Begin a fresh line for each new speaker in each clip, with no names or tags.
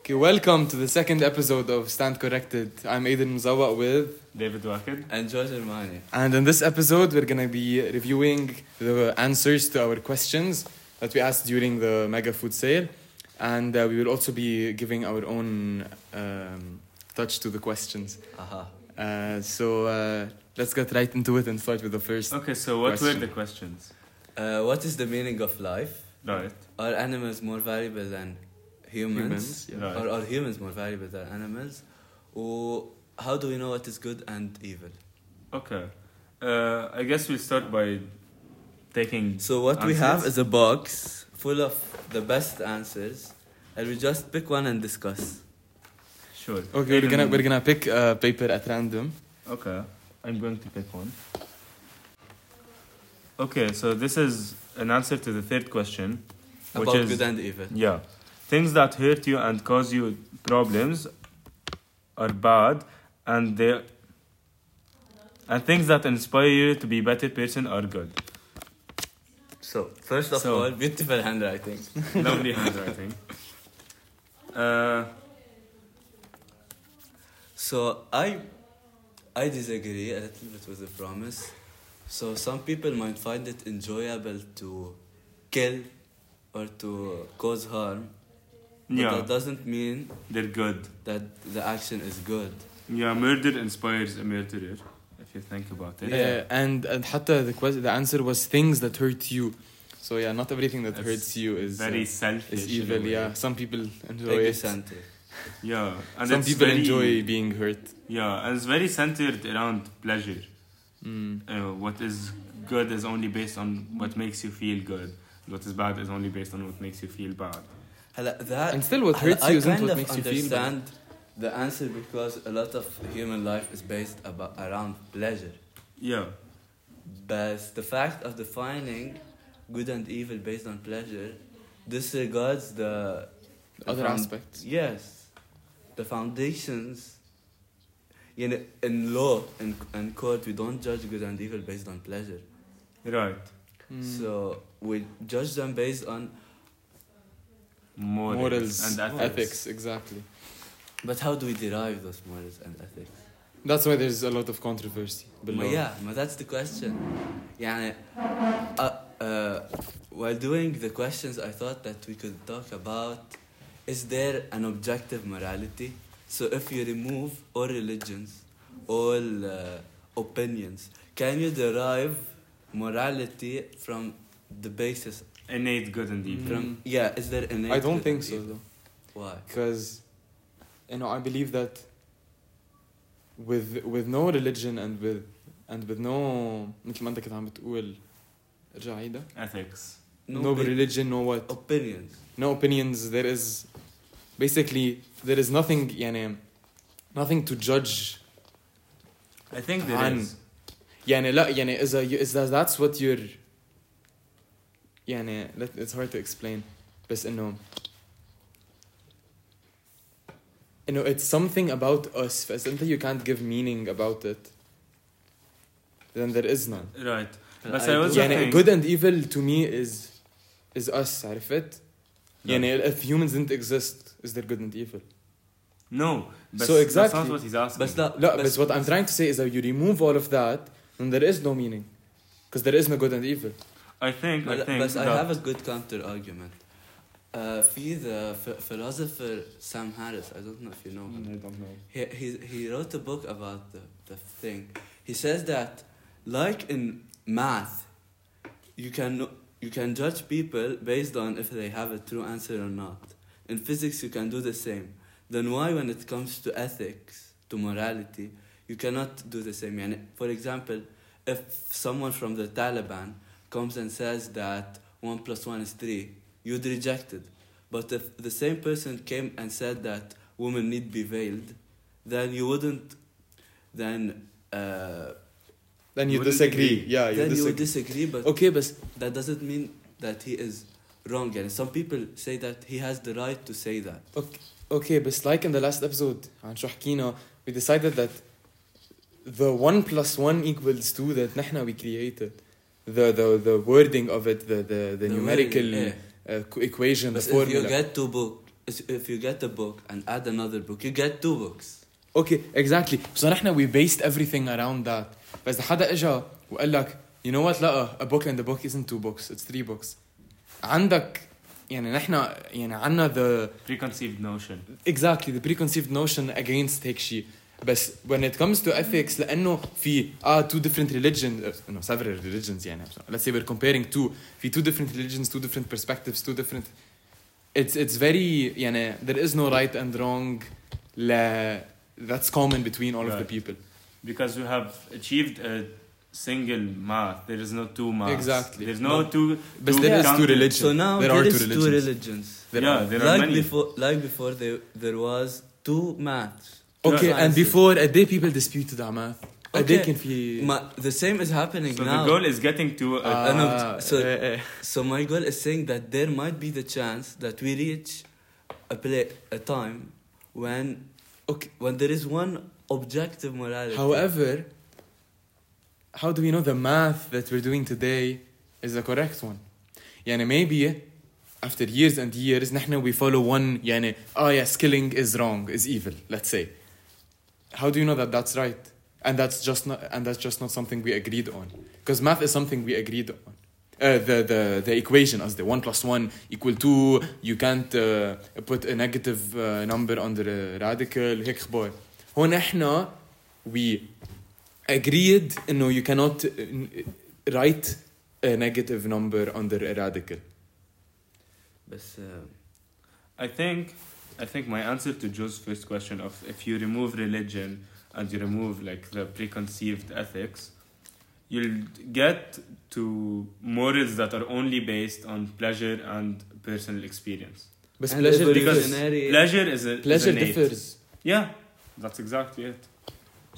Okay, welcome to the second episode of Stand Corrected. I'm Aiden Mzawak with,
ديفيد واكد
And George Armani.
and in this episode, we're gonna be reviewing the answers to our questions that we asked during the mega food sale, and uh, we will also be giving our own um, touch to the questions.
Aha.
Uh, so uh, let's get right into it and start with the first.
Okay, so what
Question.
were the questions?
Uh, what is the meaning of life?
Right.
Are animals more valuable than humans?
Humans, yeah.
Right.
Or are humans more valuable than animals? Or how do we know what is good and evil?
Okay. Uh, I guess we'll start by taking.
So what we have
answers.
is a box full of the best answers, and we just pick one and discuss.
Sure.
Okay, we're
Aiden-
gonna we're gonna pick a paper at random.
Okay, I'm going to pick one. Okay, so this is an answer to the third question, which
about
is
good and evil.
yeah, things that hurt you and cause you problems are bad, and they and things that inspire you to be better person are good.
So first of
So-
all, beautiful handwriting.
Lovely handwriting. Uh,
So I I disagree a little bit with the promise. So some people might find it enjoyable to kill or to cause harm. But
yeah,
that doesn't mean
they're good.
that the action is good.
Yeah, murder inspires a murderer. If you think about it.
Uh, and and حتى the quest- the answer was things that hurt you. So yeah, not everything that
That's
hurts you is uh,
Very selfish.
It's
in a
evil,
way.
yeah. Some people enjoy it.
Egocentric.
Yeah, and
Some
it's
people
very-
enjoy being hurt.
Yeah, and it's very centered around pleasure.
Mm.
Uh, what is good is only based on what makes you feel good. What is bad is only based on what makes you feel bad.
هلا that
And still what
هلا
hurts
I
you isn't
kind
what
of
makes you feel
understand the answer because a lot of human life is based about, around pleasure.
Yeah,
But the fact of defining good and evil based on pleasure disregards the
Other
the found-
aspects.
Yes, the foundations. In, in law and in, court, we don't judge good and evil based on pleasure.
right.
Mm.
So we judge them based on.
Morals,
morals
and ethics.
ethics, exactly.
But how do we derive those morals and ethics?
That's why there's a lot of controversy below.
But yeah, but that's the question. يعني uh, uh, while doing the questions, I thought that we could talk about is there an objective morality? So if you remove all religions, all uh, opinions, can you derive morality from the basis?
Innate good and evil.
From yeah, is there an?
Hmm. I don't think so though,
Why?
because you know I believe that with with no religion and with and with no مثل ما انت كنت عم بتقول ارجع عيدها.
Ethics.
no,
but
religion no what
opinions.
no opinions there is basically there is nothing يعني nothing to judge
I think there
عن-
is.
يعني لا يعني إذا you, is that that's what you're يعني let, it's hard to explain بس إنه إنه it's something about us فإذا أنت you can't give meaning about it then there is none
Right. But
I
I was-
do-
يعني
thing.
good and evil to me is is us عرفت؟ يعني if humans didn't exist is there good and evil
No. But
So
That's
exactly.
not what he's asking.
بس لا
لا بس what I'm trying to say is that you remove all of that then there is no meaning because there is no good and evil
I think. I
But,
think.
but I
that-
have a good counter argument. Uh, في the ph- philosopher Sam Harris, I don't know if you know him.
I don't know.
He, he, he wrote a book about the, the thing. He says that, like in math, you can, you can judge people based on if they have a true answer or not. In physics, you can do the same. Then why, when it comes to ethics, to morality, you cannot do the same? يعني, for example, if someone from the Taliban comes and says that 1 plus 1 is 3, you'd reject it. But if the same person came and said that women need be veiled, then you wouldn't, then, uh,
then you
Wouldn't
disagree
agree.
yeah you
then you would
disagree
disagree, but
okay بس
that doesn't mean that he is wrong. And some people say that he has the right to say that.
okay بس like in the last episode عن شو حكينا we decided that the 1 plus 1 equals 2 that نحن we created the the the wording of it the the the,
The
numerical
wording, yeah.
uh, equation the
But if you
formula
get two book, is if you get a book and add another book, you get two books.
اوكي اكزاكتلي بصراحه احنا we based everything around that بس إذا حدا اجى وقال لك you know what لا a book and a book isn't two books it's three books عندك يعني نحن يعني عندنا the
preconceived notion
exactly the preconceived notion against هيك شيء بس when it comes to ethics لانه في اه two different religions uh, no several religions يعني let's say we're comparing two في two different religions two different perspectives two different it's it's very يعني there is no right and wrong لا that's common between all of the
Right.
people
because you have achieved a single math. There is no two maths.
Exactly.
There's no,
No.
two.
But
two
there is two
counted-
religions.
So now
There
there
are two
is two
religions.
religions.
There
yeah,
are-
there are
like
many.
before, like before, there there was two maths. two
okay and
sciences.
before قد ايه people disputed على math قد ايه
Okay.
كان في
Ma- the same is happening
So
now.
the goal is getting to. A,
Uh, أنا
آه،
بت- so-
إيه إيه.
So my goal is saying that there might be the chance that we reach a play a time when
eh.
okay when there is one objective morality.
However, how do we know the math that we're doing today is the correct one? يعني maybe after years and years نحن we follow one يعني oh yes killing is wrong is evil let's say. How do you know that that's right? And that's just not and that's just not something we agreed on because math is something we agreed on. Uh, the, the the equation as the one plus one equal two you can't uh, put a negative uh, number on the radical هيك خبار هون احنا we agreed no you cannot uh, n- write a negative number under a radical
بس uh,
I think, I think my answer to Joe's first question of if you remove religion and you remove like the preconceived ethics, you'll get to morals that are only based on pleasure and personal experience.
بس
and
pleasure differs
evolutionary-
Pleasure is a is
pleasure
innate.
differs
Yeah, that's exactly it.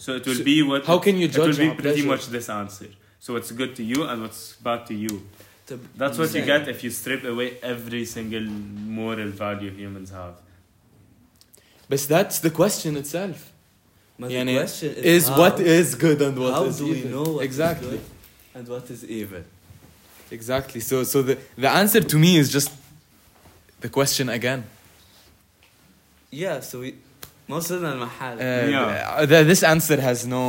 So it will
So
be what
how can you judge
It will be
our
pretty
pleasure?
much this answer. So what's good to you and what's bad to you.
طب
That's what you
مثلاً-
get if you strip away every single moral value humans have.
بس that's the question itself
But the
يعني
question is,
is
how,
what is good and what
how
is
do we
evil
know what is
exactly
good and what is evil?
exactly so so the the answer to me is just the question again
Yeah, so we ما وصلنا
uh,
لمحل
Yeah.
th- this answer has no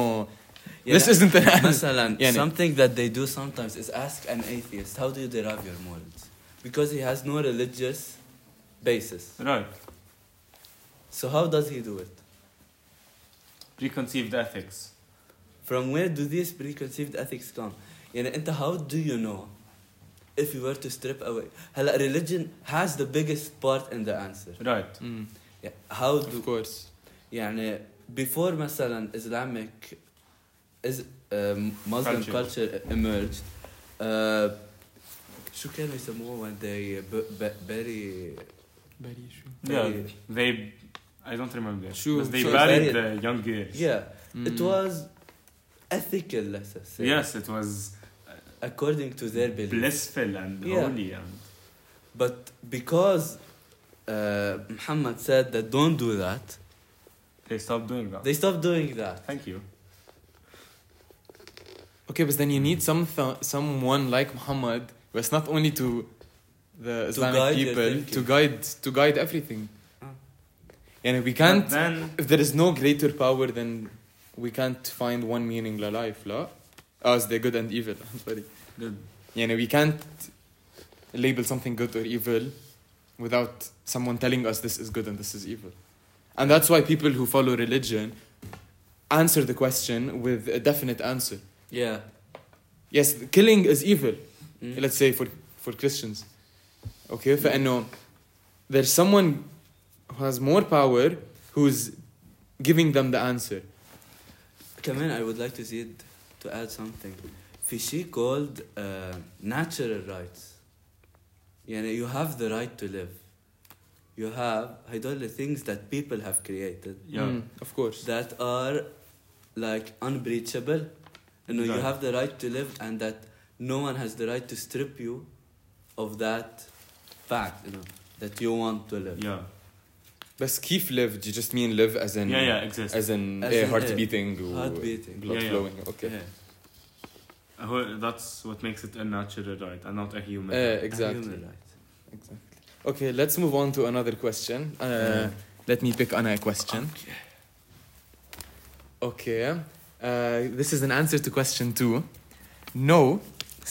this isn't an answer
مثلا
يعني-
something that they do sometimes is ask an atheist how do you derive your morals because he has no religious basis
Right.
so how does he do it
Preconceived ethics.
from where do these preconceived ethics come يعني انت how do you know if you were to strip away هلا religion has the biggest part in the answer
Right.
Mm,
yeah, how do
of course
يعني before مثلا Islamic is um, Muslim
Culture.
culture, emerged uh, شو كانوا يسموه when they bu- bu- bury
very true
Yeah.
Buried.
They. I don't remember.
Sure,
But they
sure.
buried the young girls.
yeah it
Mm.
was ethical let's say
Yes, it was
according to their belief
blissful and
Yeah.
holy and
but because uh, Muhammad said that don't do that
they stopped doing that.
they stopped doing that
Thank you.
Okay, but then you need some th- someone like Muhammad, who is not only to the Islamic
guide your
people to
thinking.
guide to guide everything.
Ah.
And we
But
can't.
then
If there is no greater power, then we can't find one meaning la life, la. As the good and evil. I'm sorry.
the
And we can't label something good or evil without someone telling us this is good and this is evil. And that's why people who follow religion answer the question with a definite answer.
yeah
Yes, killing is evil.
Mm.
Let's say for for Christians. Okay, فإنه there's someone who has more power who's giving them the answer.
كمان I would like to see to add something في شيء called uh, natural rights يعني you have the right to live you have هدول the things that people have created
yeah.
Mm, of course.
that are like unbreachable you know you
Right.
have the right to live and that no one has the right to strip you of that fact you know that you want to live
Yeah.
بس كيف live? Do you just mean live as in
Yeah, yeah, exists.
as in
As
eh,
in,
heart
eh,
beating or
heart beating.
blood
Yeah, yeah.
flowing? Okay.
Yeah.
A whole- That's what makes it a natural right and not a human.
Eh,
right.
And
exactly.
human rights.
exactly. Okay, let's move on to another question. Uh, Let me pick Anna a question. Okay. Uh, this is an answer to question two. No.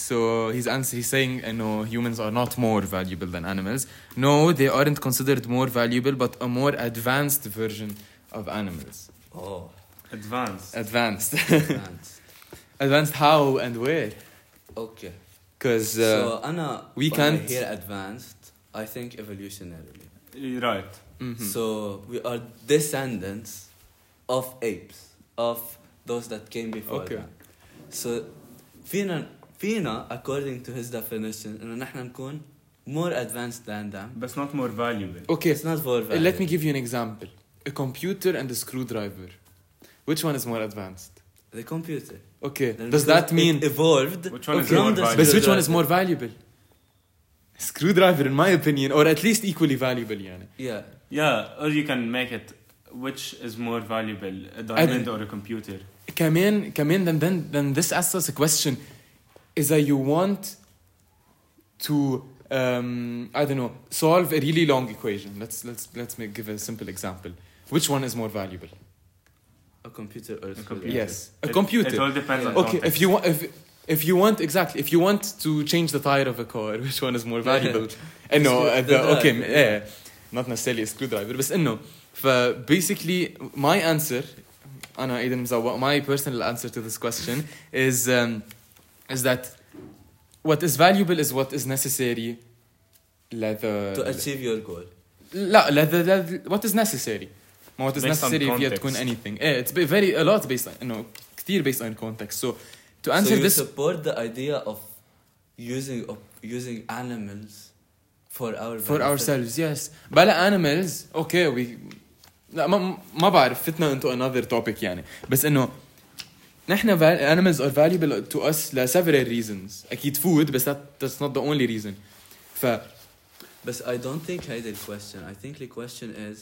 So he's answer, he's saying uh, no humans are not more valuable than animals. No, they aren't considered more valuable, but a more advanced version of animals.
Oh,
Advanced.
Uh, Advanced,
advanced.
advanced how and where?
okay.
Because uh,
So Anna,
we
when I
can't-
hear advanced. I think evolutionarily.
You're Right.
mhm.
So we are descendants of apes, of those that came before
Okay.
them. So فينا فينا according to his definition إنه نحن نكون more advanced than them.
But not more valuable.
okay,
It's not for
Uh, Let me give you an example. A computer and a screwdriver. Which one is more advanced?
the computer.
Okay.
Then
Does that
because
mean
it evolved?
Which one is
Okay.
more
But
but
valuable?
which one is more valuable? Screwdriver in my opinion or at least equally valuable يعني.
Yeah.
Yeah, or you can make it which is more valuable, a diamond or a computer.
كمان كمان then then then this asks us a question إذا you want to um, I don't know solve a really long equation let's let's let's make, give a simple example which one is more valuable
A computer or a
computer.
screwdriver.
Yeah.
yes a
It-
computer
It, all depends on
Okay,
context.
if you want, if if you want exactly, if you want to change the tire of a car, which one is more valuable? and no,
Screw-
uh, the,
the drive,
okay,
yeah.
yeah, not necessarily a screwdriver, but eh, no. uh, basically, my answer, Anna Aiden Mzawa, my personal answer to this question is um, is that what is valuable is what is necessary. لذا
To achieve your goal.
لا لذا لذا what is necessary ما what is
Based on
necessary هي تكون
context.
anything yeah, it's very a lot based on no كتير based on context so to answer
so you
this
support the idea of using of using animals for our
for
benefit.
ourselves yes بلا animals okay we لا ما ما بعرف فتنا into another topic يعني بس انه نحن val- animals are valuable to us ل several reasons اكيد food بس that, that's not the only reason ف
But I don't think هيدا question. I think the question is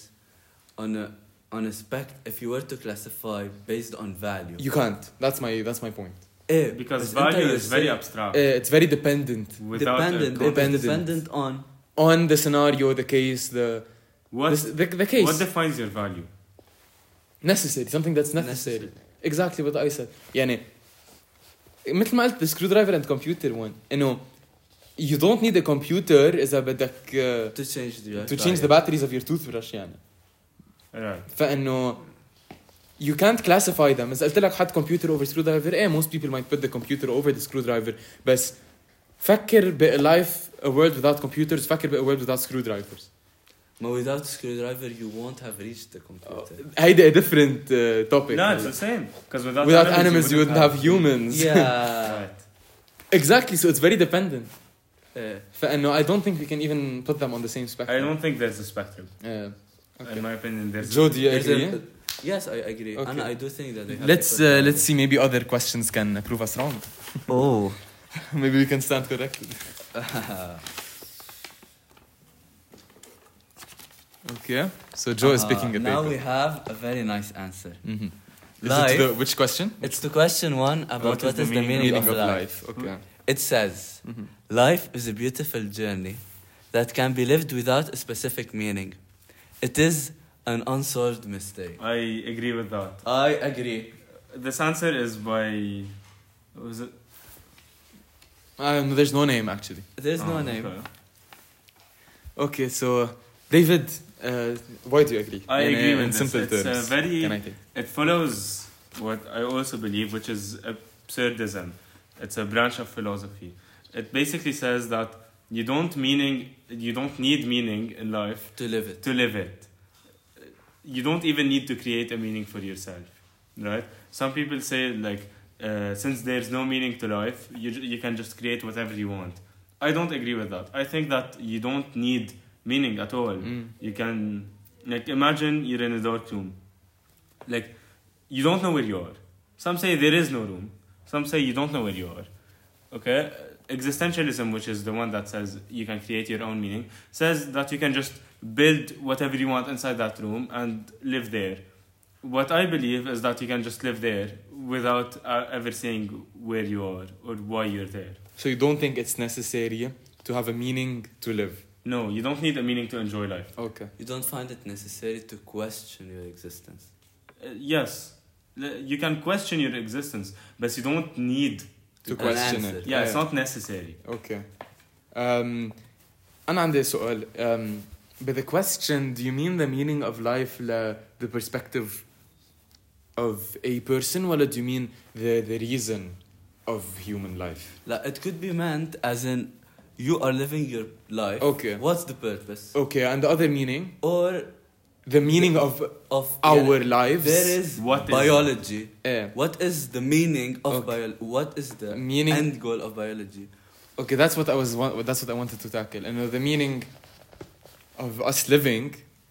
on a on a spec if you were to classify based on value.
you can't that's my that's my point
Eh,
because
بس أنت
value
you're
is very
saying
abstract.
uh, it's very dependent
without a
dependent.
con-
It
Dependent.
is dependent on
on the scenario the case the
what
this- the, the case
what defines your value?
necessary something that's necessary exactly what I said يعني مثل ما قلت the screwdriver and computer one انه you don't need a computer اذا بدك uh,
to change the
to change the batteries of your toothbrush يعني
Right.
فانه you can't classify them اذا قلت لك حط computer over screwdriver ايه most people might put the computer over the screwdriver بس فكر ب a life a world without computers فكر ب a world without screwdrivers
But without screwdriver you won't have reached the computer.
هيدا a different uh, topic
No, it's the same. Because without,
without animals you wouldn't have humans
yeah.
Right.
exactly so it's very dependent
Eh.
فانه I don't think we can even put them on the same spectrum.
I don't think there's a spectrum.
Uh,
In my opinion, there's.
Joe, do you
There's
agree?
a- yes, I agree.
Okay.
And I do think that they have
let's uh,
different
let's
values.
see. Maybe other questions can prove us wrong.
Oh.
maybe we can stand corrected. Okay. Ah, So Joe is picking a
Now we
paper.
have a very nice answer.
Mhm. Is
Life-
it the, which question?
It's the question one about what is, the, meaning, of, life.
Okay. Mm-hmm.
It says, Life is a beautiful journey that can be lived without a specific meaning. It is an unsolved mystery.
I agree with that.
I agree.
This answer is by. Was it?
Um, there's no name actually.
There's no
Oh,
name.
okay.
Okay. So David, uh, why do you agree?
I
In, uh,
agree
in
with this.
simple
It's a
terms.
very
Can I take?
It follows what I also believe, which is absurdism. It's a branch of philosophy. It basically says that you don't meaning you don't need meaning in life
To live it.
to live it. You don't even need to create a meaning for yourself, right? Some people say like uh, since there's no meaning to life, you ju- you can just create whatever you want. I don't agree with that. I think that you don't need meaning at all
Mm.
you can like imagine you're in a dark room like you don't know where you are some say there is no room some say you don't know where you are okay existentialism which is the one that says you can create your own meaning says that you can just build whatever you want inside that room and live there what i believe is that you can just live there without uh, ever saying where you are or why you're there
So you don't think it's necessary to have a meaning to live?
No, you don't need a meaning to enjoy life.
Okay.
You don't find it necessary to question your existence.
Uh, yes, l- you can question your existence, but you don't need.
To
An
question
answer.
it.
Yeah, it's not necessary.
Okay. Um, أنا عندي سؤال. Um, by the question, do you mean the meaning of life ل the perspective of a person ولا do you mean the, the reason of human life?
Like, it could be meant as in you are living your life.
Okay.
What's the purpose?
Okay, and the other meaning?
Or
The meaning of
of
our
yeah,
lives.
there is
What is-
biology.
Eh.
What is the meaning of
Okay.
bio? What is the
Meaning-
end goal of biology?
Okay, that's what I was. wa- That's what I wanted to tackle, and the meaning of us living,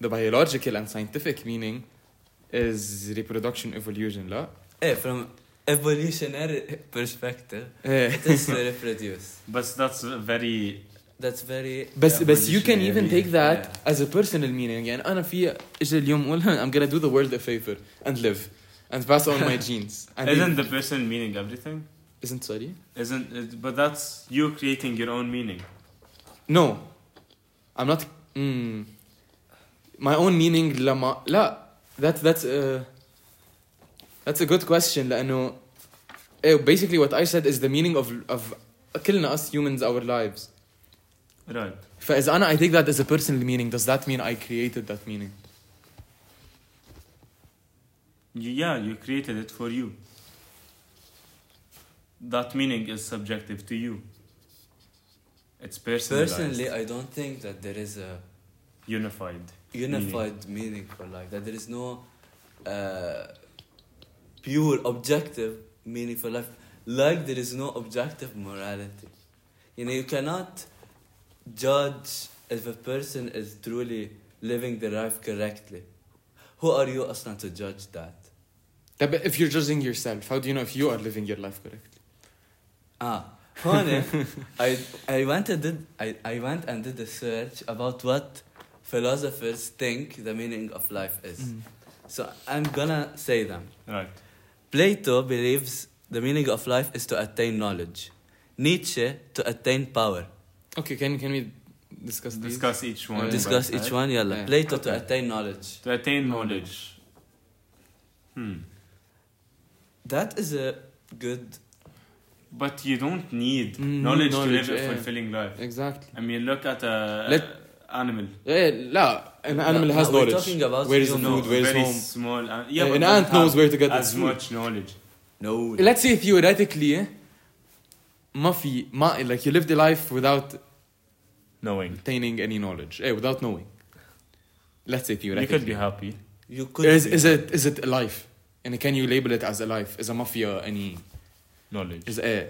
the biological and scientific meaning, is reproduction, evolution, لا?
Eh, from evolutionary perspective,
Eh.
it is to reproduce.
But that's very.
That's very.
بس
Yeah,
بس you can even
evolutionary,
take that
yeah.
as a personal meaning يعني أنا في إجا اليوم أقول I'm gonna do the world a favor and live and pass on my genes and
Isn't the person meaning everything?
isn't sorry
Isn't it? But that's you creating your own meaning.
no I'm not mm, my own meaning لما لا that that's a that's a good question لأنه eh, basically what I said is the meaning of of كلنا us humans our lives
Right.
فإذا أنا I take that as a personal meaning does that mean I created that meaning
You, yeah, you created it for you. That meaning is subjective to you. It's personalized,
Personally, I don't think that there is a
unified.
unified meaning, for life. That there is no uh, pure objective meaning for life. Like there is no objective morality. You know, you cannot judge if a person is truly living their life correctly. Who are you, Aslan, to judge that?
طب if you're judging yourself how do you know if you are living your life correctly
Ah, هون I I went and did I, I went and did a search about what philosophers think the meaning of life is.
Mm.
So I'm gonna say them.
Right.
Plato believes the meaning of life is to attain knowledge. Nietzsche to attain power.
okay can can we discuss these?
Discuss each one.
Yeah.
Discuss
by
each one, yalla.
Yeah.
Plato to
Okay.
attain knowledge.
To attain knowledge. Hmm.
That is a good
But you don't need
Mm,
knowledge,
knowledge,
to live
yeah.
a fulfilling life.
exactly
I mean, look at a
Let-
animal.
Eh, لا an animal
No,
has
no, we're
knowledge
talking about
where is the
human-
food
No,
where is
very
home
small. an-
Yeah,
yeah, but
an
don't
ant knows
have
where to get its
as
food.
much knowledge.
no
let's say theoretically eh, ما في ما like you lived a life without
Knowing.
attaining any knowledge eh, without knowing let's say
You
theoretically
could be happy.
you could
is,
be.
is it is it a life and can you label it as a life is a mafia any
Knowledge.
is eh.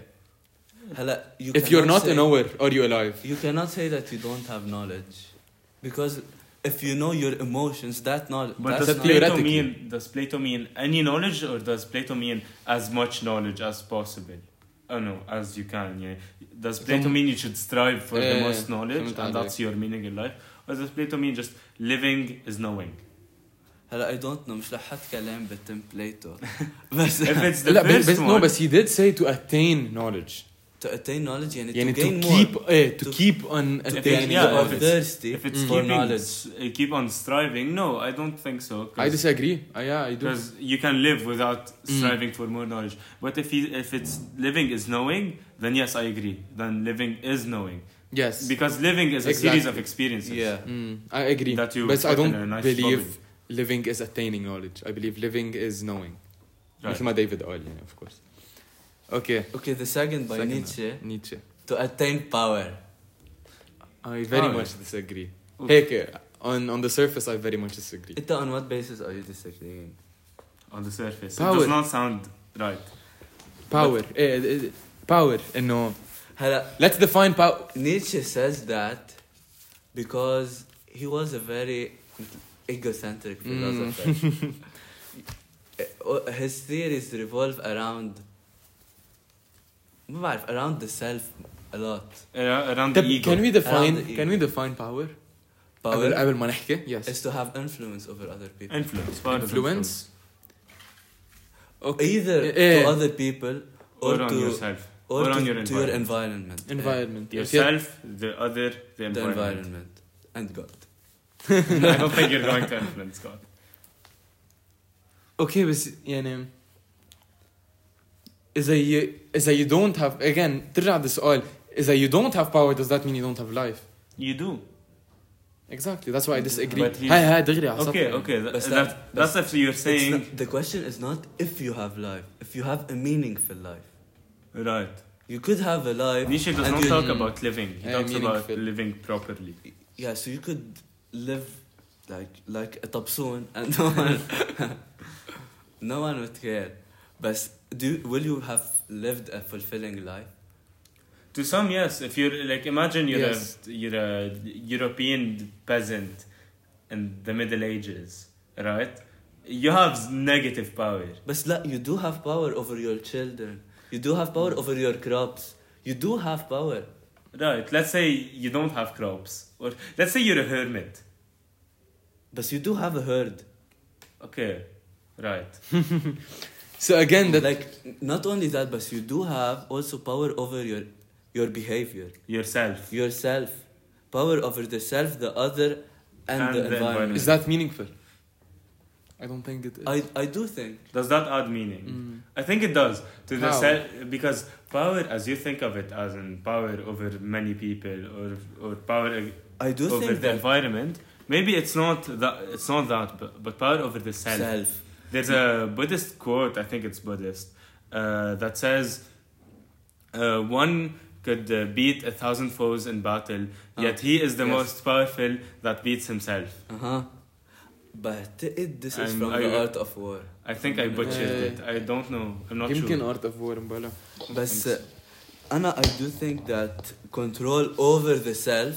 هلا you
if you're not
cannot
a
say-
knower are you alive
You cannot say that you don't have knowledge, because if you know your emotions, that knowledge.
But
That's
does
not-
Plato
theoretically.
mean does Plato mean any knowledge or does Plato mean as much knowledge as possible? Oh no, as you can. Yeah. Does Plato
Some-
mean you should strive for
Yeah,
the
yeah,
most
yeah.
knowledge
Something
and
like
that's your meaning in life? Or does Plato mean just living is knowing?
هلا I don't know مش رح حط كلام بتم بليتو بس
If it's the
لا بس,
first
بس
one,
no بس he did say to attain knowledge
to attain knowledge يعني,
يعني
to
to,
gain more
keep eh, to,
To-
keep on Mm.
if
attaining
it's,
attaining
yeah, if
knowledge.
it's,
Thirsty
if it's
for
keeping,
knowledge.
s- uh, keep on striving, no, I don't think so. 'cause-
I disagree Mm. uh, yeah I do
because you can live without striving for more knowledge. But if you, if it's living is knowing, then yes, I agree. Then living is knowing
yes
because living is a series of
Exactly.
experiences.
yeah
mm, I agree
That you
but I
put in a
don't
nice
believe
bubble.
living is attaining knowledge I believe living is knowing
Right.
مثل ما David قال يعني of course okay
okay the second by
Second.
Nietzsche
Nietzsche
to attain power
I very
Oh,
much
yeah.
disagree
Oof.
هيك on on the surface I very much disagree
انت on what basis are you disagreeing
on the surface. It
Power.
does not sound right.
power eh, eh, power إنه
هلا
let's define power
Nietzsche says that because he was a very egocentric
Mm.
philosopher his theories revolve around ما بعرف around the self a lot
Ar- Uh, Around the
طب
ego.
can we define
Around the
can
ego.
we define power
power
قبل قبل ما نحكي yes
is to have influence over other people.
influence. Power is
influence
Either
Eh, eh.
to other people or,
Or on
to
yourself.
or,
or
to,
on your
to your environment.
environment
Yourself, the other, the
Eh, the
environment.
environment. and God.
I don't think you're going to influence God.
Okay, بس يعني إذا you, إذا you don't have again ترجع للسؤال إذا you don't have power does that mean you don't have life?
You do.
Exactly that's why I disagree.
But he-
هاي هاي دغري على
Okay,
سطحي.
okay. That,
But
that,
that-
that's if you're
It's
saying
not, the question is not if you have life, if you have a meaningful life.
right.
You could have a life.
Nietzsche does
and
not
you-
talk about living. He
Yeah,
talks about
meaningful.
living properly.
Yeah, so you could live like like a tapsoon and no one no one would care. But do will you have lived a fulfilling life?
To some, yes. If you're like, imagine you're
Yes.
a you're a European peasant in the Middle Ages, right? You have negative power.
But la, you do have power over your children. You do have power over your crops. You do have power.
Right. Let's say you don't have crops, or let's say you're a hermit.
But you do have a herd.
Okay. Right.
So again that
like not only that, but you do have also power over your your behavior,
Yourself.
yourself, power over the self, the other, and,
And
the,
the
environment.
is that meaningful? I don't think it is.
I I do think
Does that add meaning?
Mm.
I think it does to the
How?
se- because power, as you think of it, as in power over many people or or power ag-
I do
over
think
the
that
environment. Maybe it's not that it's not that, but, but power over the self.
self.
There's a Buddhist quote, I think it's Buddhist, uh, that says, uh, "One could uh, beat a thousand foes in battle, yet he is the
Oh. yes.
most powerful that beats himself."
Uh huh. But it, this is
I'm-
from
I-
the art of war.
I think
Mm.
I butchered
Uh,
it. I don't know. I'm not
يمكن
sure.
art of war مبلا.
But uh, Anna, I do think that control over the self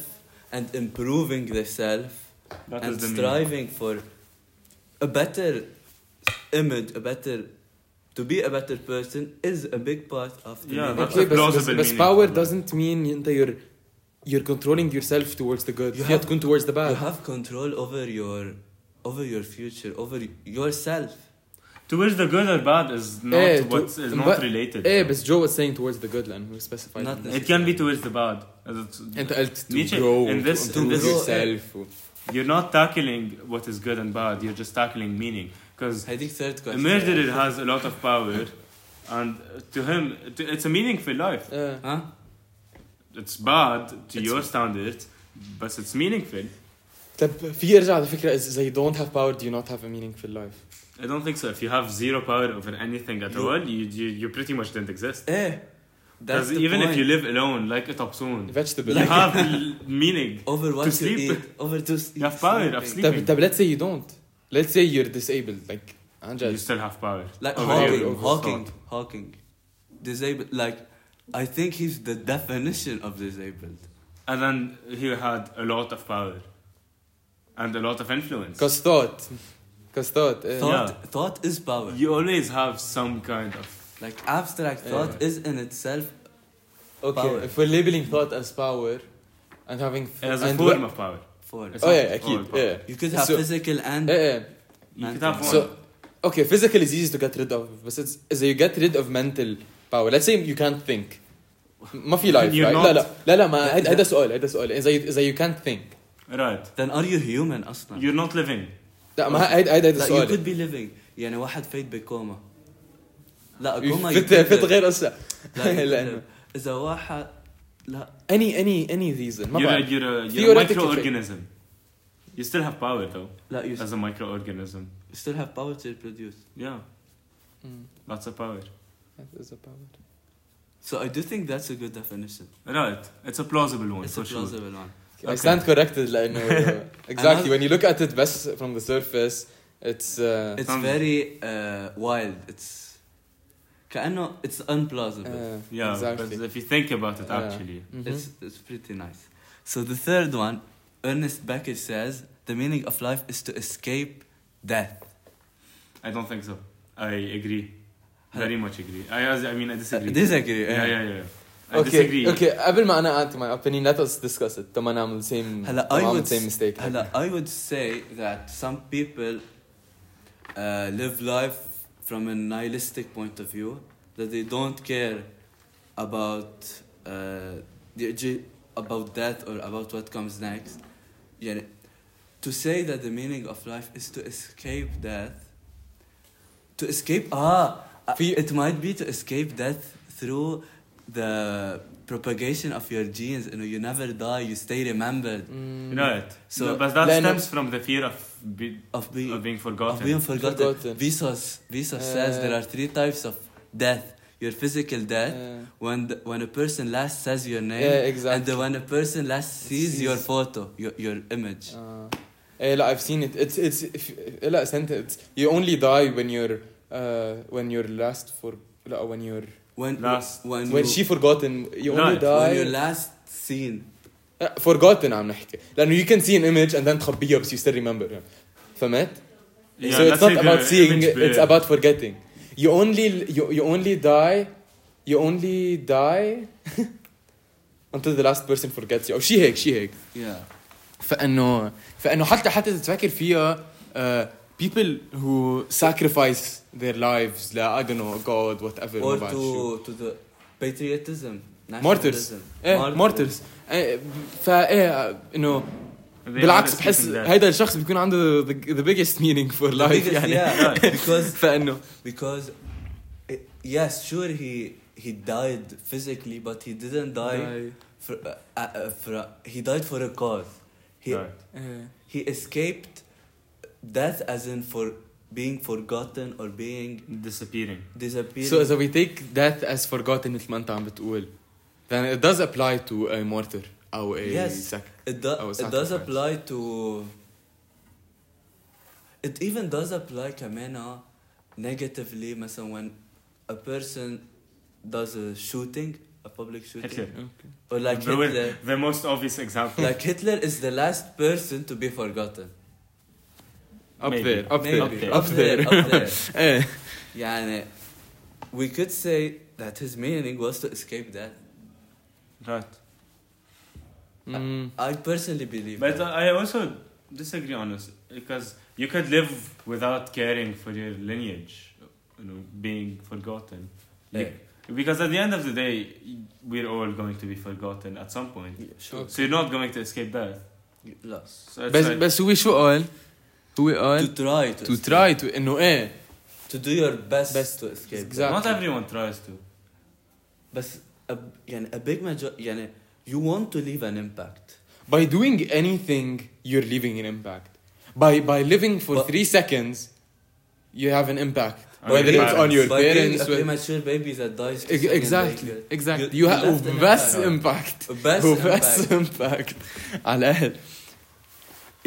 and improving the self
That
and
is the meaning.
striving for a better image, a better to be a better person is a big part of the
Yeah,
meaning.
that's
Okay, بس
a
بس,
plausible
بس
meaning.
power doesn't mean انت you're you're controlling yourself towards the good.
You
You
have-
have to towards the
you
bad.
have control over your over your future, over yourself.
Towards the good or bad is not
Eh, to-
what's is not
Eh, but-
related.
eh,
ايه بس Joe was saying towards the good لانه he specified.
Not
it.
It can be towards the bad. That's-
انت قلت to
Nietzsche,
grow
in this-
to
in
improve
this-
yourself. و-
You're not tackling what is good and bad. You're just tackling meaning. Because
I think third
a
question.
murderer has a lot of power, and to him, to, it's a meaningful life.
آه.
Huh?
It's bad to
It's-
your standards, but it's meaningful.
طب في يرجع لفكرة is they don't have power do you not have a meaningful life
I don't think so. If you have zero power over anything at
You-
all, you, you you pretty much didn't exist.
Eh. That's
Because
the
even
point.
if you live alone, like a topsoon,
vegetable
you have l- meaning.
over what you
sleep.
eat, over to sleep.
You have power of sleep.
طب طب let's say you don't let's say you're disabled like عن
You
جد
still have power.
Like
over
Hawking,
your
Hawking,
thought.
Hawking. Disabled. Like, I think he's the definition of disabled.
And then he had a lot of power and a lot of influence.
cause thought cause thought eh, إيه.
Thought, thought is power.
You always have some kind of.
Like abstract thought
Yeah.
is in itself.
okay
Power.
if we're labeling thought as power and having
As a
and
form of power.
For
It's
oh
not
yeah
all
اكيد
power.
yeah
you could have
So- eh,
physical and
ايه ايه
You could
mental.
have one.
So, okay, physical is easy to get rid of, but it's, is you get rid of mental power. Let's say you can't think. ما في life,
You're
right?
not-
لا لا لا لا ما هيدا هيدا سؤال هيدا سؤال إذا إذا you can't think
right.
Then are you human أصلا?
You're not living.
لا ما هيدا هيدا هيدا
Like, you
سؤال
could be living. يعني واحد فايت بكوما. لا كوما you
فت
could
فت
live.
غير قصة
لا you could
لأنه-
live. إذا واحد لا
any any any reason ما
You're a,
بعرف
you're a, you're a
Theoretically.
microorganism. You still have power though,
لا you
as a microorganism.
still have power to reproduce.
Yeah,
Mm,
lots of power.
that is a power.
So I do think that's a good definition.
Right. It's a plausible one
It's a
for sure.
plausible one.
I
Okay.
stand corrected لأنه exactly when you look at it best from the surface it's uh,
It's
Um,
very uh, wild. It's كأنه it's unplausible.
uh,
Yeah,
exactly
because if you think about it
Yeah.
actually.
Mhm.
It's it's pretty nice. So the third one, Ernest Becker says the meaning of life is to escape death.
I don't think so. I agree. Very much agree. I, as- I mean, I disagree.
Disagree.
Yeah,
eh.
yeah, yeah. I
Okay,
disagree.
okay, قبل ما انا add to my opinion, let us discuss it. تما نعمل same
هلا
تما
I
نعمل
would
same mistake.
هلا I would say that some people uh, live life from a nihilistic point of view that they don't care about uh, the, about death or about what comes next يعني, to say that the meaning of life is to escape death to escape ah
في-
it might be to escape death through the propagation of your genes انه you never die you stay remembered
Mm.
Right.
Mm. So-
So, but that
لأنه-
stems from the fear of, be,
of being
of being
of being
forgotten.
forgotten,
Forgotten.
Vsauce Vsauce says
Uh,
there are three types of death your physical death
Uh,
when the, when a person last says your name
yeah, exactly.
and the, when a person last sees,
Sees.
your photo your, your image
Uh, eh, لا, I've seen it. It's it's if, eh, لا, sentence. You only die when you're uh, when you're last for لا, when you're
when
Last.
when,
when
you,
she forgotten. You only
Right.
when
die
you're last seen
لا, Uh, forgotten عم نحكي لأنه you can see an image and then تخبيها but you still remember. فهمت؟ so
let's
it's
say
not
the
about seeing.
image
It's
blur.
about forgetting. You only you, you only die. You only die until the last person forgets you. Oh, أو شي هيك شي هيك.
yeah
فانه فانه حتى حتى إذا تفكر فيها uh, people who sacrifice their lives لا I don't know God whatever
or
ما بعرف شو.
to to the patriotism
Martyrs.
nationalism
ايه مارترز Eh, فايه انه
They are
بالعكس
escaping
بحس
death.
هيدا الشخص بيكون عنده the, the biggest meaning for
The
life
biggest-
يعني
yeah,
Right.
because
فانه
because uh, yes sure he he died physically but he didn't die for, uh, uh, for a- he died for a cause he
Right.
إيه.
he escaped death as in for being forgotten or being
disappearing.
disappeared
so as we take death as forgotten مثل ما انت عم بتقول then it does apply to a martyr او a
Yes.
sac-
it, do-
Oh,
it does
sacrifice.
apply to it even does apply كمان negatively مثلا when a person does a shooting a public shooting
Hitler.
or like
the,
Hitler
the most obvious example.
like Hitler is the last person to be forgotten.
up
Maybe.
there up
Maybe.
there
Up there.
up there
up there.
ايه
يعني, we could say that his meaning was to escape death.
right.
Mm.
I personally believe
But
that.
I also disagree on this because you could live without caring for your lineage, you know, being forgotten. You-
Yeah.
Because at the end of the day, we're all going to be forgotten at some point.
Okay.
So you're not going to escape death.
Lost.
So it's
بس
like-
بس هو شو قال؟ هو
To
قال
try to,
to
escape.
try to انه ايه
to do your best,
Best.
to escape.
Exactly.
not everyone tries to.
But a, يعني a big major يعني you want to leave an impact.
by doing anything you're leaving an impact by by living for
But-
three seconds you have an impact
On
whether
your
it's on
parents.
your
By being
parents
a
whether-
premature baby that dies.
Ex- exactly exactly
You-
you
you
have
left an
best
impact.
impact
Best
هو بس
impact.
impact على الاهل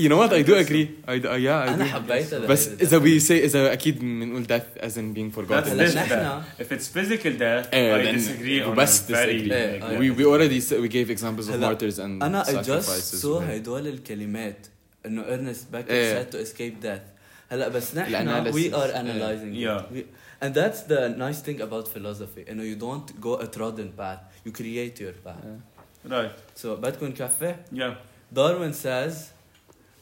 you know what I do agree I do, uh, yeah I
أنا
do
حبيت هذا
بس
الهيدا.
إذا we say إذا أكيد بنقول death as in being
That's
forgotten
هلا
this
نحن-
death. If it's physical death,
Eh,
I
then
disagree on
best
a very
disagree.
Eh,
like,
I-
we we already said, we gave examples of
هلا،
martyrs and
انا I just
sacrifices
saw
وهيك.
هدول الكلمات انه Ernest Becker
إيه.
said to escape death هلا بس نحن
الanalysis.
we are
إيه.
analyzing it.
Yeah.
We- and that's the nice thing about philosophy انه you don't go a trodden path you create your path
right.
so بدكم كفي
Yeah.
Darwin says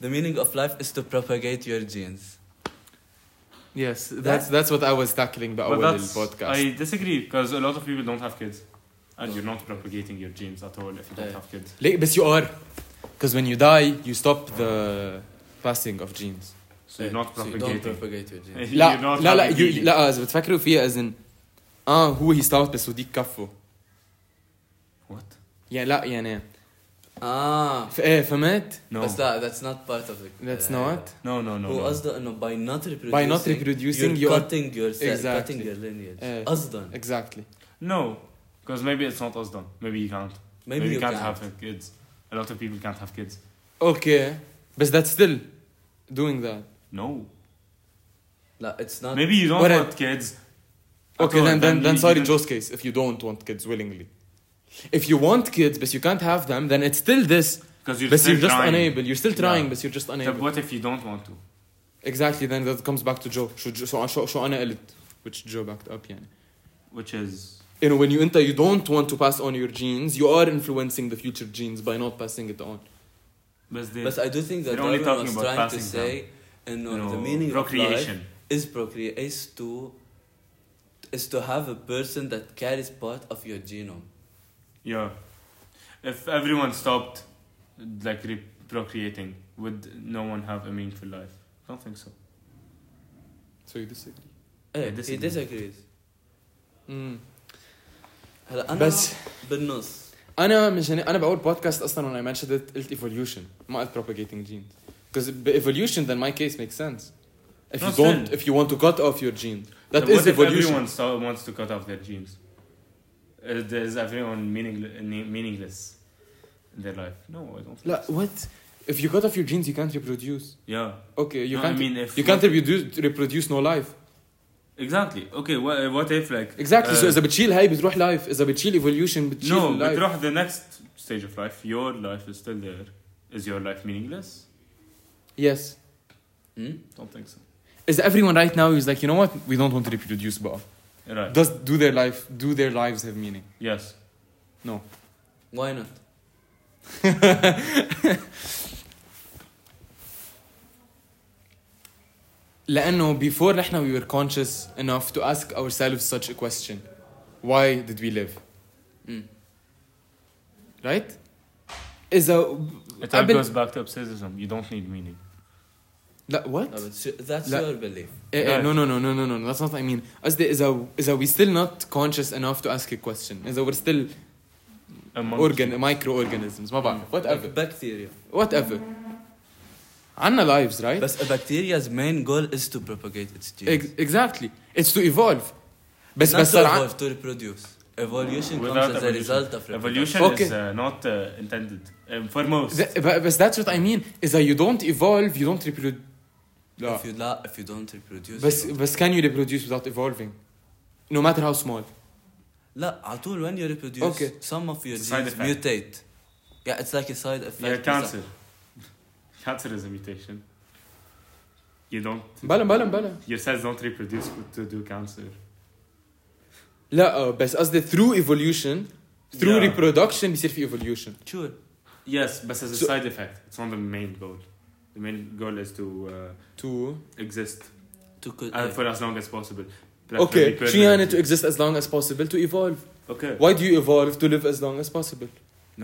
the meaning of life is to propagate your genes
Yes, that's that's what I was tackling
But
بأول
that's,
البودكاست.
I disagree because a lot of people don't have kids, and
No.
you're not propagating your genes at all if you don't
Eh.
have kids.
ليه بس you are because when you die you stop the passing of genes.
So you're not
Eh. So you don't
propagating.
propagate your genes
You're
لا
not
لا لا
having
you,
genes.
لا إذا بتفكروا فيها as in اه هو he stopped بس وديك كفه.
What?
يعني لا يعني
اه
ف- ايه فهمت؟
No.
بس لا Ah. that's not part of the uh,
That's not.
No, no, no.
هو
no.
قصده انه by not reproducing
By not reproducing
you're
your-
cutting yourself
Exactly. Eh.
cutting your lineage
إيه.
قصدا
Exactly.
No, because maybe it's not us done. Maybe you can't.
maybe, you
can't,
can't
have kids. A lot of people can't have kids.
Okay. But that's still doing that.
No.
لا it's not
Maybe you don't
What I-
want kids. at
Okay,
all,
then then, then
you-
sorry
you
Joe's case if you don't want kids willingly. If you want kids but you can't have them then it's still this
Because you're,
but
still
you're just
trying.
unable. You're still trying
Yeah.
but you're just
But
unable.
what if you don't want to?
Exactly, then that comes back to Joe. uh, شو شو شو, شو أنا قلت which Joe backed up يعني.
Which is
You know when you enter you don't want to pass on your genes, you are influencing the future genes by not passing it on.
but they,
But I do think that
They're only
Darwin
talking
was
about
trying to
passing
say, and
you know,
the meaning of life
procreation.
is procreate is to is to have a person that carries part of your genome.
Yeah. If everyone stopped like re- procreating, would no one have a meaningful life? I don't think so.
So you disagree?
ايه
I disagree.
Eh, he disagrees
Mm.
هلا انا
بس-
بالنص
انا مش يعني, هن... انا باول بودكاست اصلا when I mentioned it قلت evolution ما قلت propagating genes because evolution then my case makes sense if you
Not
don't
still.
if you want to cut off your gene that
But
is
what if
evolution
everyone so- wants to cut off their genes? Is is everyone meaningl- ne- meaningless in their life? No, I don't think
لا
so.
what if you cut off your genes you can't reproduce
Yeah.
okay you
No, I
can't
mean, if
you can't
what-
reproduce reproduce no life
Exactly. Okay, what, what if like
exactly so
uh,
اذا بتشيل هاي بتروح لايف اذا بتشيل evolution بتشيل
No,
life
بتروح the next stage of life. Your life is still there. Is your life meaningless?
yes
مم؟
Don't think so.
is everyone right now is like you know what we don't want to reproduce بقى
Right.
does do their life do their lives have meaning
yes.
why not
لأنه before نحن we were conscious enough to ask ourselves such a question why did we live Hmm.
مم.
right إذا
It all
قبل-
goes back to obsessivism. You don't need meaning.
لا what
No, but sh- that's
لا.
your belief
Eh, eh,
Right.
no no no no no no that's not what I mean قصدي إذا إذا we still not conscious enough to ask a question إذا we're still
Among
organ microorganisms ما
Hmm.
بعرف whatever
bacteria
whatever عنا lives right
بس a bacteria's main goal is to propagate its genes
Ex- exactly it's to evolve بس
Not
بس
to
صار عن-
evolve to reproduce evolution
Without
comes as a
evolution.
result of reproduction
Evolution
Okay.
is uh, not uh, intended um, for most.
Th- but, but that's what I mean إذا you don't evolve you don't reproduce لا
if you la- if you don't reproduce
بس
you don't.
بس can you reproduce without evolving no matter how small
لا على طول when you reproduce
Okay.
some of your
It's a side
genes
effect.
mutate yeah it's like a side effect
yeah,
بالظبط.
cancer. cancer is a mutation. You don't.
بلا بلا بلا
Your cells don't reproduce with- to do cancer.
لا آه، بس قصدي through evolution through
Yeah.
reproduction بيصير في evolution
sure
Yes, but as a
So-
side effect. It's not the main goal. The main goal is to uh,
to
exist
to co-
uh, for as long as possible. Preferably
okay she wanted
permanently.
to exist as long as possible to evolve
Okay.
why do you evolve to live as long as possible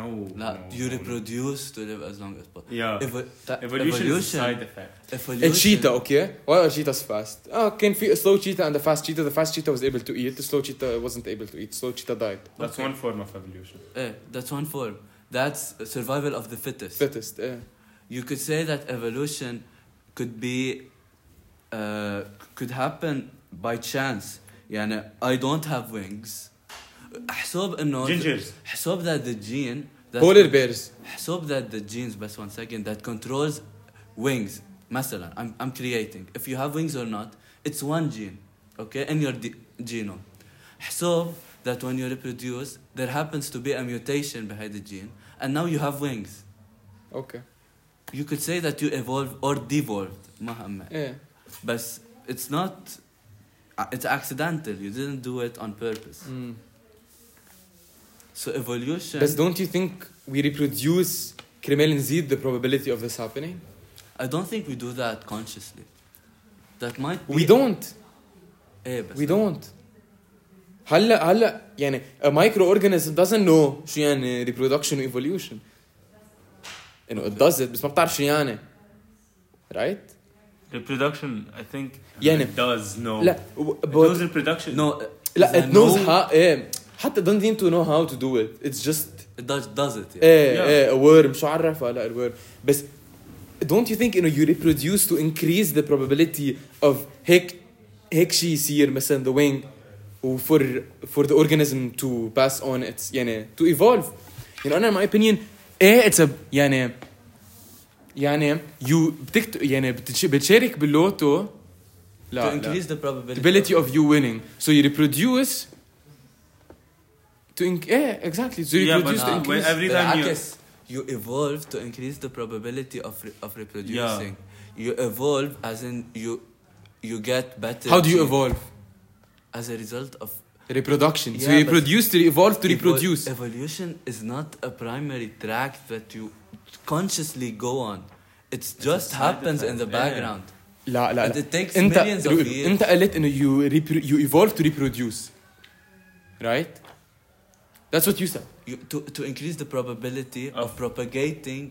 No.
لا
no,
you
no, no.
reproduce to live as long as possible
Yeah.
Evo- ta-
evolution, is a side effect.
evolution
a cheetah okay why are cheetahs fast oh can feed a slow cheetah and a fast cheetah the fast cheetah was able to eat the slow cheetah wasn't able to eat slow cheetah died
That's
Okay.
one form of evolution.
Eh, that's one form that's survival of the fittest
fittest yeah.
you could say that evolution could be uh, could happen by chance يعني I don't have wings حسب انه
Gingers.
حسب that the gene that
polar bears
حسب that the genes بس one second that controls wings مثلا I'm, I'm creating if you have wings or not it's one gene okay in your d- genome حسب that when you reproduce there happens to be a mutation behind the gene and now you have wings
okay
you could say that you evolved or devolved ما همك
yeah
بس it's not uh, it's accidental you didn't do it on purpose
Mm.
so evolution
But don't you think we reproduce كرمال نزيد the probability of this happening?
I don't think we do that consciously that might be
We don't.
ايه بس
We don't. هلا هلا يعني a microorganism doesn't know شو يعني reproduction و evolution. انه it does it بس ما بتعرف شو يعني. Right?
Reproduction, I think,
Yeah, no.
it does no.
لا
It
but,
knows reproduction.
No, uh,
لا
the
it knows
no-
how ايه حتى doesn't seem to know how to do it. It's just
It does, does it. Yeah.
ايه
Yeah.
ايه ورم شو عرف هلا الورم بس don't you think انه you reproduce to increase the probability of هيك هيك شيء يصير مثلا the wing و for for the organism to pass on its يعني to evolve يعني انا in my opinion ايه it's a يعني يعني you بتكت يعني بتش- بتشارك باللوتو
to
لا لا
increase the probability.
probability of you winning so you reproduce to inc- yeah exactly so you
Yeah, but
reproduce to
now,
increase
when every time you,
بالعكس, you evolve to increase the probability of re- of reproducing. You evolve as in you you get better.
How do you
gene-
evolve?
As a result of
Reproduction. so
Yeah,
you
but-
reproduce to evolve to
Evo-
reproduce.
Evolution is not a primary track that you consciously go on. It's just
side
happens in
effect,
the
yeah.
background.
لا لا
And
لا.
it takes
انت
millions of years.
انت قلت انه you repro- you evolve to reproduce. Right? That's what you said.
you, to, to increase the probability of propagating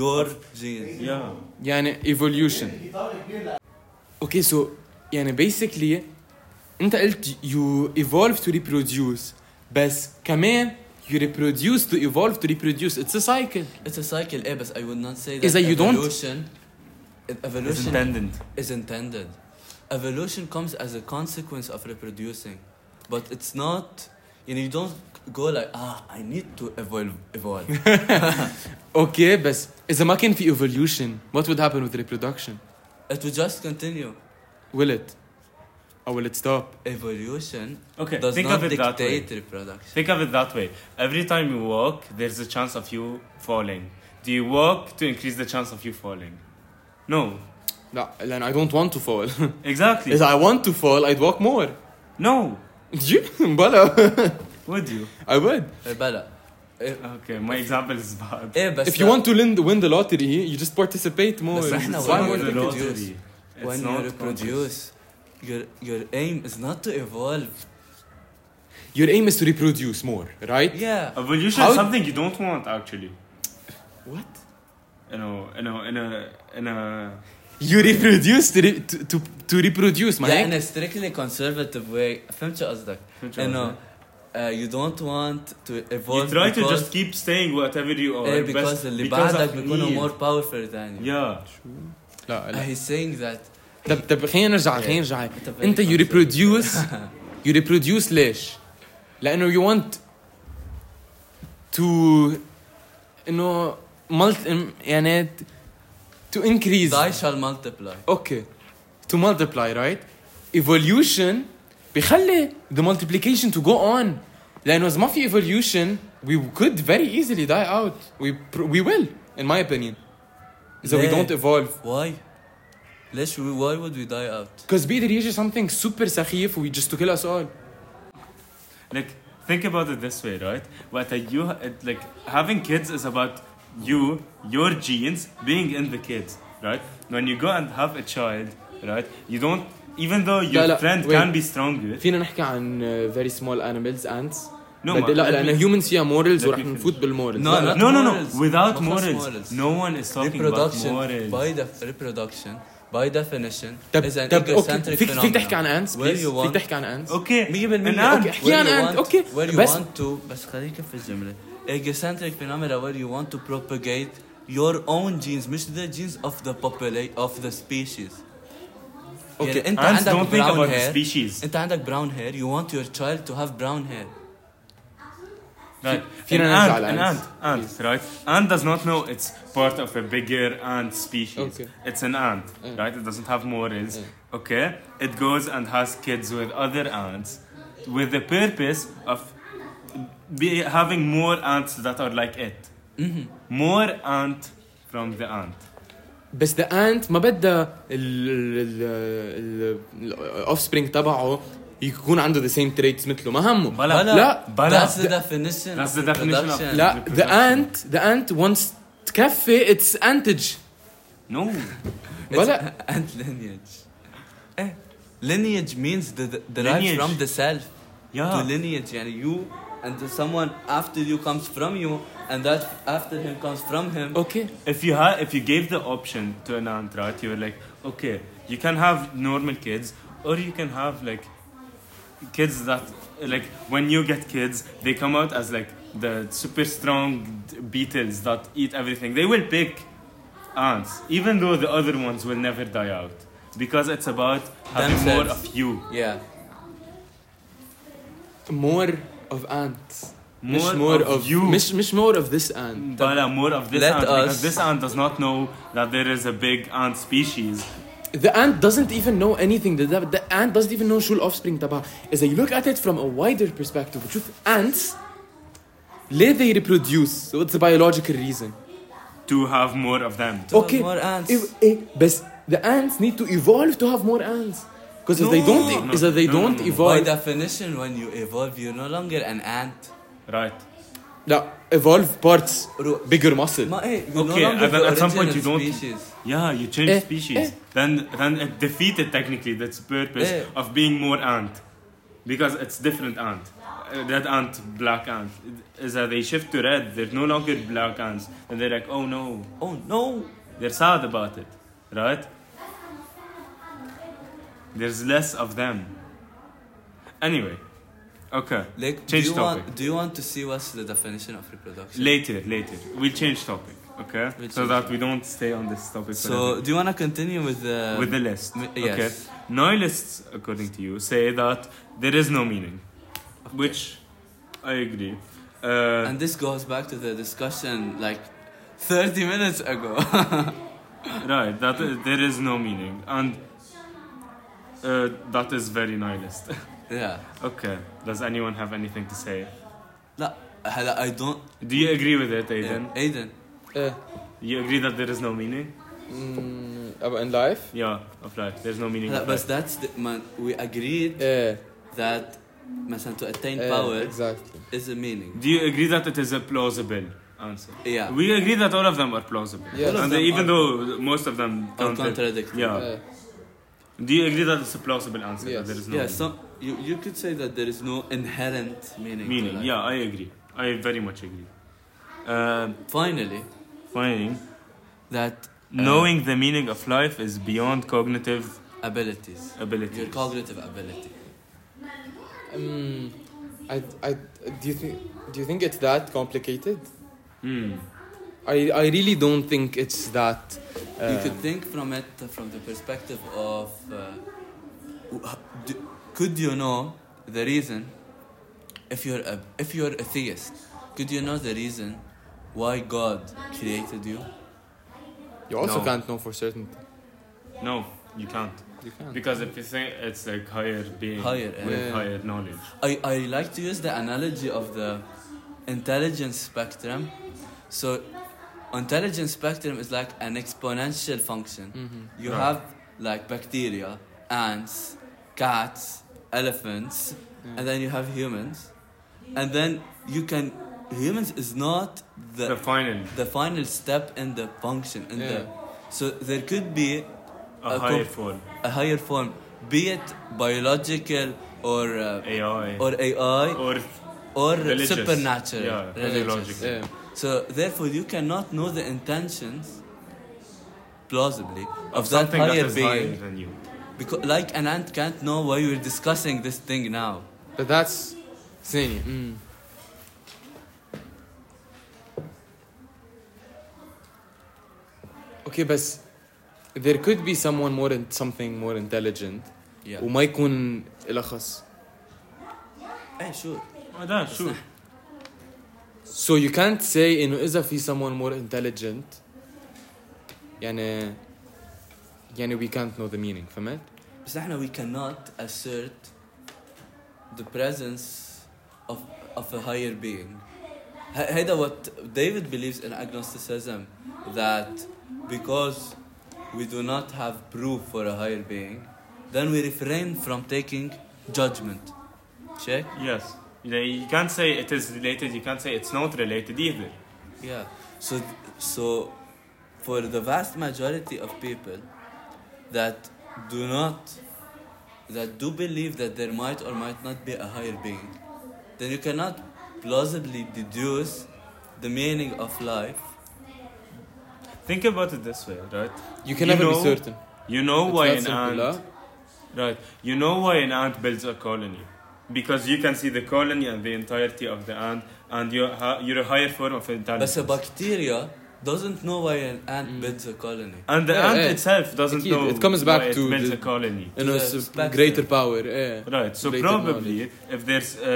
your genes.
Yeah.
يعني evolution okay so يعني basically انت قلت you evolve to reproduce بس كمان you reproduce to evolve to reproduce it's a cycle
It's a cycle, eh, but I would not say that
Is that you don't-
evolution, don't?
It's
Evolution
independent.
is intended. Evolution comes as a consequence of reproducing, but it's not. You know, you don't go like ah, I need to evolve, evolve.
okay بس اذا ما كان في evolution what would happen with reproduction
it will just continue.
will it or will it stop
Evolution
Okay,
does
think
not
of it that way.
dictate reproduction.
Think of it that way. Every time you walk, there's a chance of you falling. Do you walk to increase the chance of you falling? No.
لا لان I don't want to fall
Exactly.
if I want to fall I'd walk more
No.
بلا
Would you?
I would
Eh, Bella. Eh,
Okay, my example is bad.
eh, but
if you want to win the, win the lottery you just participate more
بس احنا
It's
Why
when
fine.
you
would the
reproduce-
lottery? It's
when you
not
reproduce, your your aim is not to evolve.
your aim is to reproduce more right
Yeah.
complex. Evolution
How-
is something Uh, you don't want, actually.
What?
You know, you know, in a, in a.
You reproduce to, re- to, to, to reproduce ما
Yeah, in
هيك؟
a strictly conservative way. فهمت شو قصدك؟ انه uh, you don't want to evolve
You try to
because,
just keep staying whatever you are. بس
eh, because اللي
because
بعدك
of E.
بيكونوا
need.
more powerful than you.
Yeah.
لا
Uh,
لا
he's saying that
طب طب خلينا نرجع خلينا نرجع
very
انت you
conservative.
reproduce you reproduce ليش؟ لانه you want to انه ملت يعني ت- to increase
thy shall multiply.
اوكي to multiply right evolution بخلي the multiplication to go on لانه اذا ما في evolution we could very easily die out we pr- we will in my opinion so we
ليه؟
don't evolve
Why? ليش we, why would we die out?
because بيقدر يجي something super سخيف we just to kill us all
Like, think about it this way, right? But uh, you, it, like, having kids is about you, your genes being in the kids, right? When you go and have a child, right? You don't, even though your
لا،
friend
wait.
can be stronger.
فينا نحكي عن uh, very small animals ants
No,
بدي-
ما-
لا
let me-
لانه humans فيها morals
let
ورح
me finish.
نفوت بالمorals
No,
لا،
not
no, no, no.
morals.
Without
ما خلص
morals,
morals.
no one is talking about
reproduction
morals.
by def- reproduction by definition
طب
is an
طب
egocentric
اوكي فيك فيك
phenomenon.
تحكي عن ants
Where
please
you
فيك
want-
تحكي عن ants
Okay.
100%
An
أوكي.
ant.
احكي عن
Where you
ant
want-
اوكي
where you
بس
want to بس خليك في الجملة egocentric phenomena where you want to propagate your own genes مش the genes of the population of the species
Okay.
يعني انت
Ants
عندك
don't think
brown
about the
hair
species.
انت عندك brown hair you want your child to have brown hair
Right.
فينا
an
نرجع
ant, an
للants.
ant, ant, right? Ant does not know it's part of a bigger ant species.
Okay.
It's an ant, right? It doesn't have morals. Okay, it goes and has kids with other ants, with the purpose of be having more ants that are like it. More ant from the ant.
بس ذا انت ما بدها الاوف سبرينج تبعه يكون عنده ذا سيم تريتس مثله ما همه
بلا.
لا
بلا.
that's the definition
That's
of
the definition of-
reproduction.
لا ذا انت ذا انت وانس تكفي اتس انتج
No,
بلا
and lineage eh lineage means the, the derived
Lineage.
from the self
Yeah.
to lineage and you and to someone after you comes from you and that after him comes from him
اوكي
if you had if you gave the option to an aunt right you were like okay you can have normal kids or you can have like kids that like when you get kids they come out as like the super strong d- beetles that eat everything they will pick ants even though the other ones will never die out because it's about having more
Themselves.
of you
yeah
مور اوف انت مش
More
مور
of
اوف
you.
مش مش مور اوف ذس انت
Bala, uh, more of this
Let
ant because
us-
this ant does not know that there is a big ant species
The ant doesn't even know anything. The, the, the ant doesn't even know شو الاوفسبرينج تبعها. إذا you look at it from a wider perspective بتشوف ants ليه they reproduce؟ So it's a biological reason.
to have more of them
To have more ants.
If, eh, بس the ants need to evolve to have more ants. Because if they don't,
No.
if they
No, no,
don't
no, no.
evolve,
by definition when you evolve you're no longer an ant
right
لا evolve parts
رو-
bigger muscle.
ما ايه eh, you're
Okay,
no longer
and then
the
at some point you
original
don't-
species
Yeah, you change
Eh,
species.
eh.
Then then it defeated technically that's purpose
Eh.
of being more ant. Because it's different ant. red ant, black ant, is that they shift to red. They're no longer black ants, and they're like, oh no,
Oh no!
they're sad about it, right? There's less of them. Anyway, okay.
Like,
Change
do you
topic.
want do you want to see what's the definition of reproduction?
Later, later. We'll change topic, okay?
We'll
so
change
that
topic.
we don't stay on this topic
so
forever.
do you want to continue with the
with the list.
Um, m-
Okay.
yes.
Nihilists, according to you, say that there is no meaning, which I agree. Uh,
And this goes back to the discussion like 30 minutes ago.
right, that i- there is no meaning, and uh, that is very nihilist.
yeah.
okay, does anyone have anything to say?
لا هلا I don't
Do you agree with it, Aiden?
yeah. Aiden
Uh,
You agree that there is no meaning?
mm, about in life?
Yeah, of life. There's no meaning.
هلا
of
بس
life.
that's the, man, we agreed
Yeah.
that مثلا to attain
yeah,
power
eh, Exactly.
is a meaning.
Do you agree that it is a plausible answer?
Yeah.
We agree that all of them are plausible.
Yeah. All of
And
them
even
are-
though most of them
Or
don't.
contradict.
Yeah.
Uh,
Do you agree that it's a plausible answer? That
Yes.
there is no
Yeah, some you, you could say that there is no inherent meaning. to
meaning? meaning.
life.
Yeah, I agree. I very much agree. Uh,
Finally,
finding Uh,
that Uh,
knowing the meaning of life is beyond cognitive
abilities,
ability.
your cognitive ability.
Uh,
mm, I, I, do you think do you think it's that complicated?
Hmm.
I, I really don't think it's that.
you
uh,
could think from it from the perspective of uh, do- could you know the reason if you're a, if you're a theist could you know the reason why god created you
you also
No.
can't know for certain.
No, you can't.
You can't.
Because if you think it's like higher being
Higher,
with
yeah.
higher knowledge.
I, I like to use the analogy of the intelligence spectrum so intelligence spectrum is like an exponential function
Mhm.
You
Right.
have like bacteria, ants, cats, elephants,
Yeah.
and then you have humans. And then you can humans is not
The
the
final,
the final step in the function in the
Yeah.
so there could be
a
A
higher
com-
form.
a higher form, be it biological or uh,
AI.
or AI
or
or
religious.
supernatural.
Yeah,
religious.
theological.
Yeah.
So therefore you cannot know the intentions plausibly of, that
something that
higher
is
being.
higher than you.
Because, like an ant can't know why we're discussing this thing now.
But that's ثانية. Mm. Okay, بس there could be someone more in, something more intelligent
Yeah.
وما يكون إلها خص.
Hey, sure.
Oh, yeah, sure.
So you can't say إنه إذا في someone more intelligent يعني يعني we can't know the meaning فهمت؟
بس احنا we cannot assert the presence of of a higher being. ه- هيدا what David believes in agnosticism that because we do not have proof for a higher being, then we refrain from taking judgment. Check?
Yes. You know, You can't say it is related, you can't say it's not related either.
Yeah. So, so for the vast majority of people that do not, that do believe that there might or might not be a higher being, then you cannot plausibly deduce the meaning of life.
Think about it this way, right?
You can
You
never be
know-
certain.
You know
It's
why
that
an
simple, آه. لا؟
ant Right. You know why an ant builds a colony? Because you can see the colony and the entirety of the ant and you're ha- you're a higher form of
But
intelligence.
a bacteria doesn't know why an ant
Mm.
builds a colony.
and the
Yeah,
ant
yeah.
itself doesn't
It-
know
it comes back
why
to
it builds
the-
a colony.
إنه
The
it's
spectrum.
greater power. إيه.
Right. So
Greater
probably if there's a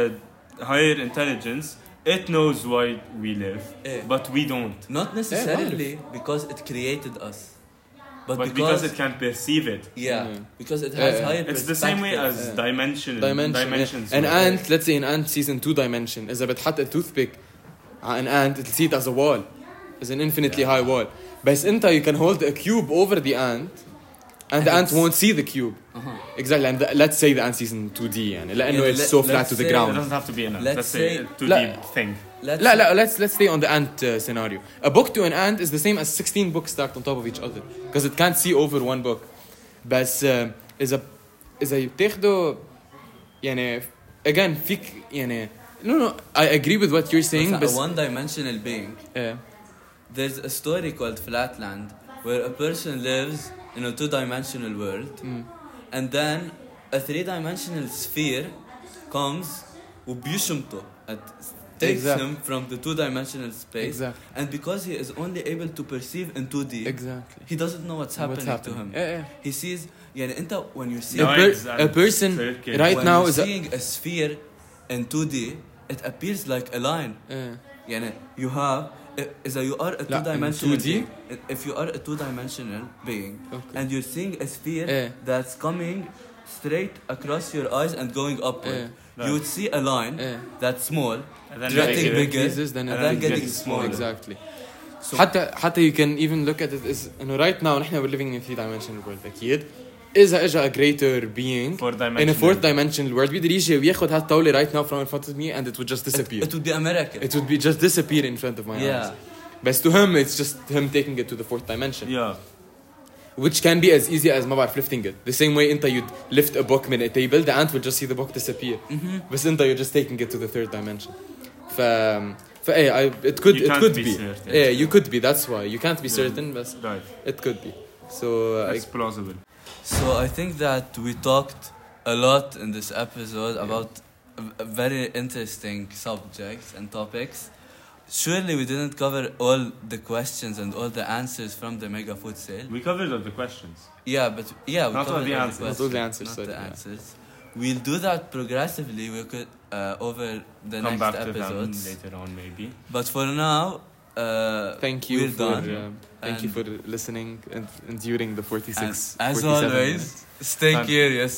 higher intelligence, it knows why we live,
Eh.
but we don't.
Not necessarily because it created us, but,
But, because,
because,
it can perceive it.
yeah,
Yeah.
because it has
Mm. Yeah.
higher.
It's the same way
perspective.
as
Yeah.
dimension
dimension.
dimensions.
yeah. An
work.
ant, let's say an ant sees in two dimension. إذا بتحط a toothpick على an ant, it'll see it as a wall. It's an infinitely high wall. بس أنت you can hold a cube over the ant and the
And
ant
it's-
won't see the cube.
Uh-huh.
Exactly. And the, let's say the ant sees in 2D يعني لأنه
Yeah,
it's
let-
so flat
let's
to the
say-
It
ground.
doesn't have to be an ant.
Let's
Let's say
say-
a 2D
لا.
thing.
Let's
لا لا let's let's stay on the ant uh, scenario. A book to an ant is the same as 16 books stacked on top of each other because it can't see over one book. بس uh, إذا إذا بتاخده يعني again فيك يعني No, no, I agree with what you're saying, uh,
It's
but
a one-dimensional being.
yeah,
There's a story called Flatland where a person lives in a two-dimensional world,
Hmm.
and then a three-dimensional sphere comes وبيشمطه. It takes
Exact.
him from the two-dimensional space.
exactly,
And because he is only able to perceive in 2D,
exactly.
he doesn't know what's happening,
What's happening? Eh.
to him.
Yeah, yeah.
He sees يعني انت when you see
A,
No,
per-
exactly.
a person
Circle.
right
when
now
you're
is a,
seeing a sphere in 2D, it appears like a line.
yeah.
يعني you have إذا you are a
لا, in
two-dimensional
2D?
being, if you are a two-dimensional being
Okay. Eh.
and you're seeing a sphere
Yeah.
that's coming straight across your eyes and going
Eh.
upward,
Yeah.
you would see a line
yeah.
that's small
And then
Do you
like,
think
uh,
big- bigger,
increases, then
and
it
then
gets
getting smaller.
Exactly.
So-
حتى حتى you can even look at it as انه right now نحن we're living in a three dimensional world اكيد اذا اجى a greater being
four
in a
dimensional.
fourth dimensional world بيقدر يجي وياخذ هالطاوله right now from in front of me and it would just
it,
disappear.
it would be a miracle.
It would be just disappear in front of my eyes.
yeah.
But to him it's just him taking it to the fourth dimension.
Yeah.
Which can be as easy as ما بعرف lifting it. The same way انت you'd lift a book من a table the ant would just see the book disappear. بس انت you're just taking it to the third dimension. ف فايه eh, I, it could
You
it
can't
could
be
be.
certain.
yeah, you could be that's why. You can't be
Yeah.
certain but
Right.
it could be. So uh,
That's plausible.
So I think that we talked a lot in this episode about v- very interesting subjects and topics. Surely we didn't cover all the questions and all the answers from the mega food sale.
We covered all the questions.
Yeah, but yeah, we
Not all
covered
the answers.
questions,
Not all the answers,
not
sorry,
the
yeah.
answers. We'll do that progressively. We could uh, over the
Come
next
back
episodes.
to them later on, maybe.
But for now, uh,
thank you
we're
for
done.
uh, thank you
And-
for listening and enduring the 46
And as
47
always,
minutes.
stay
And-
curious.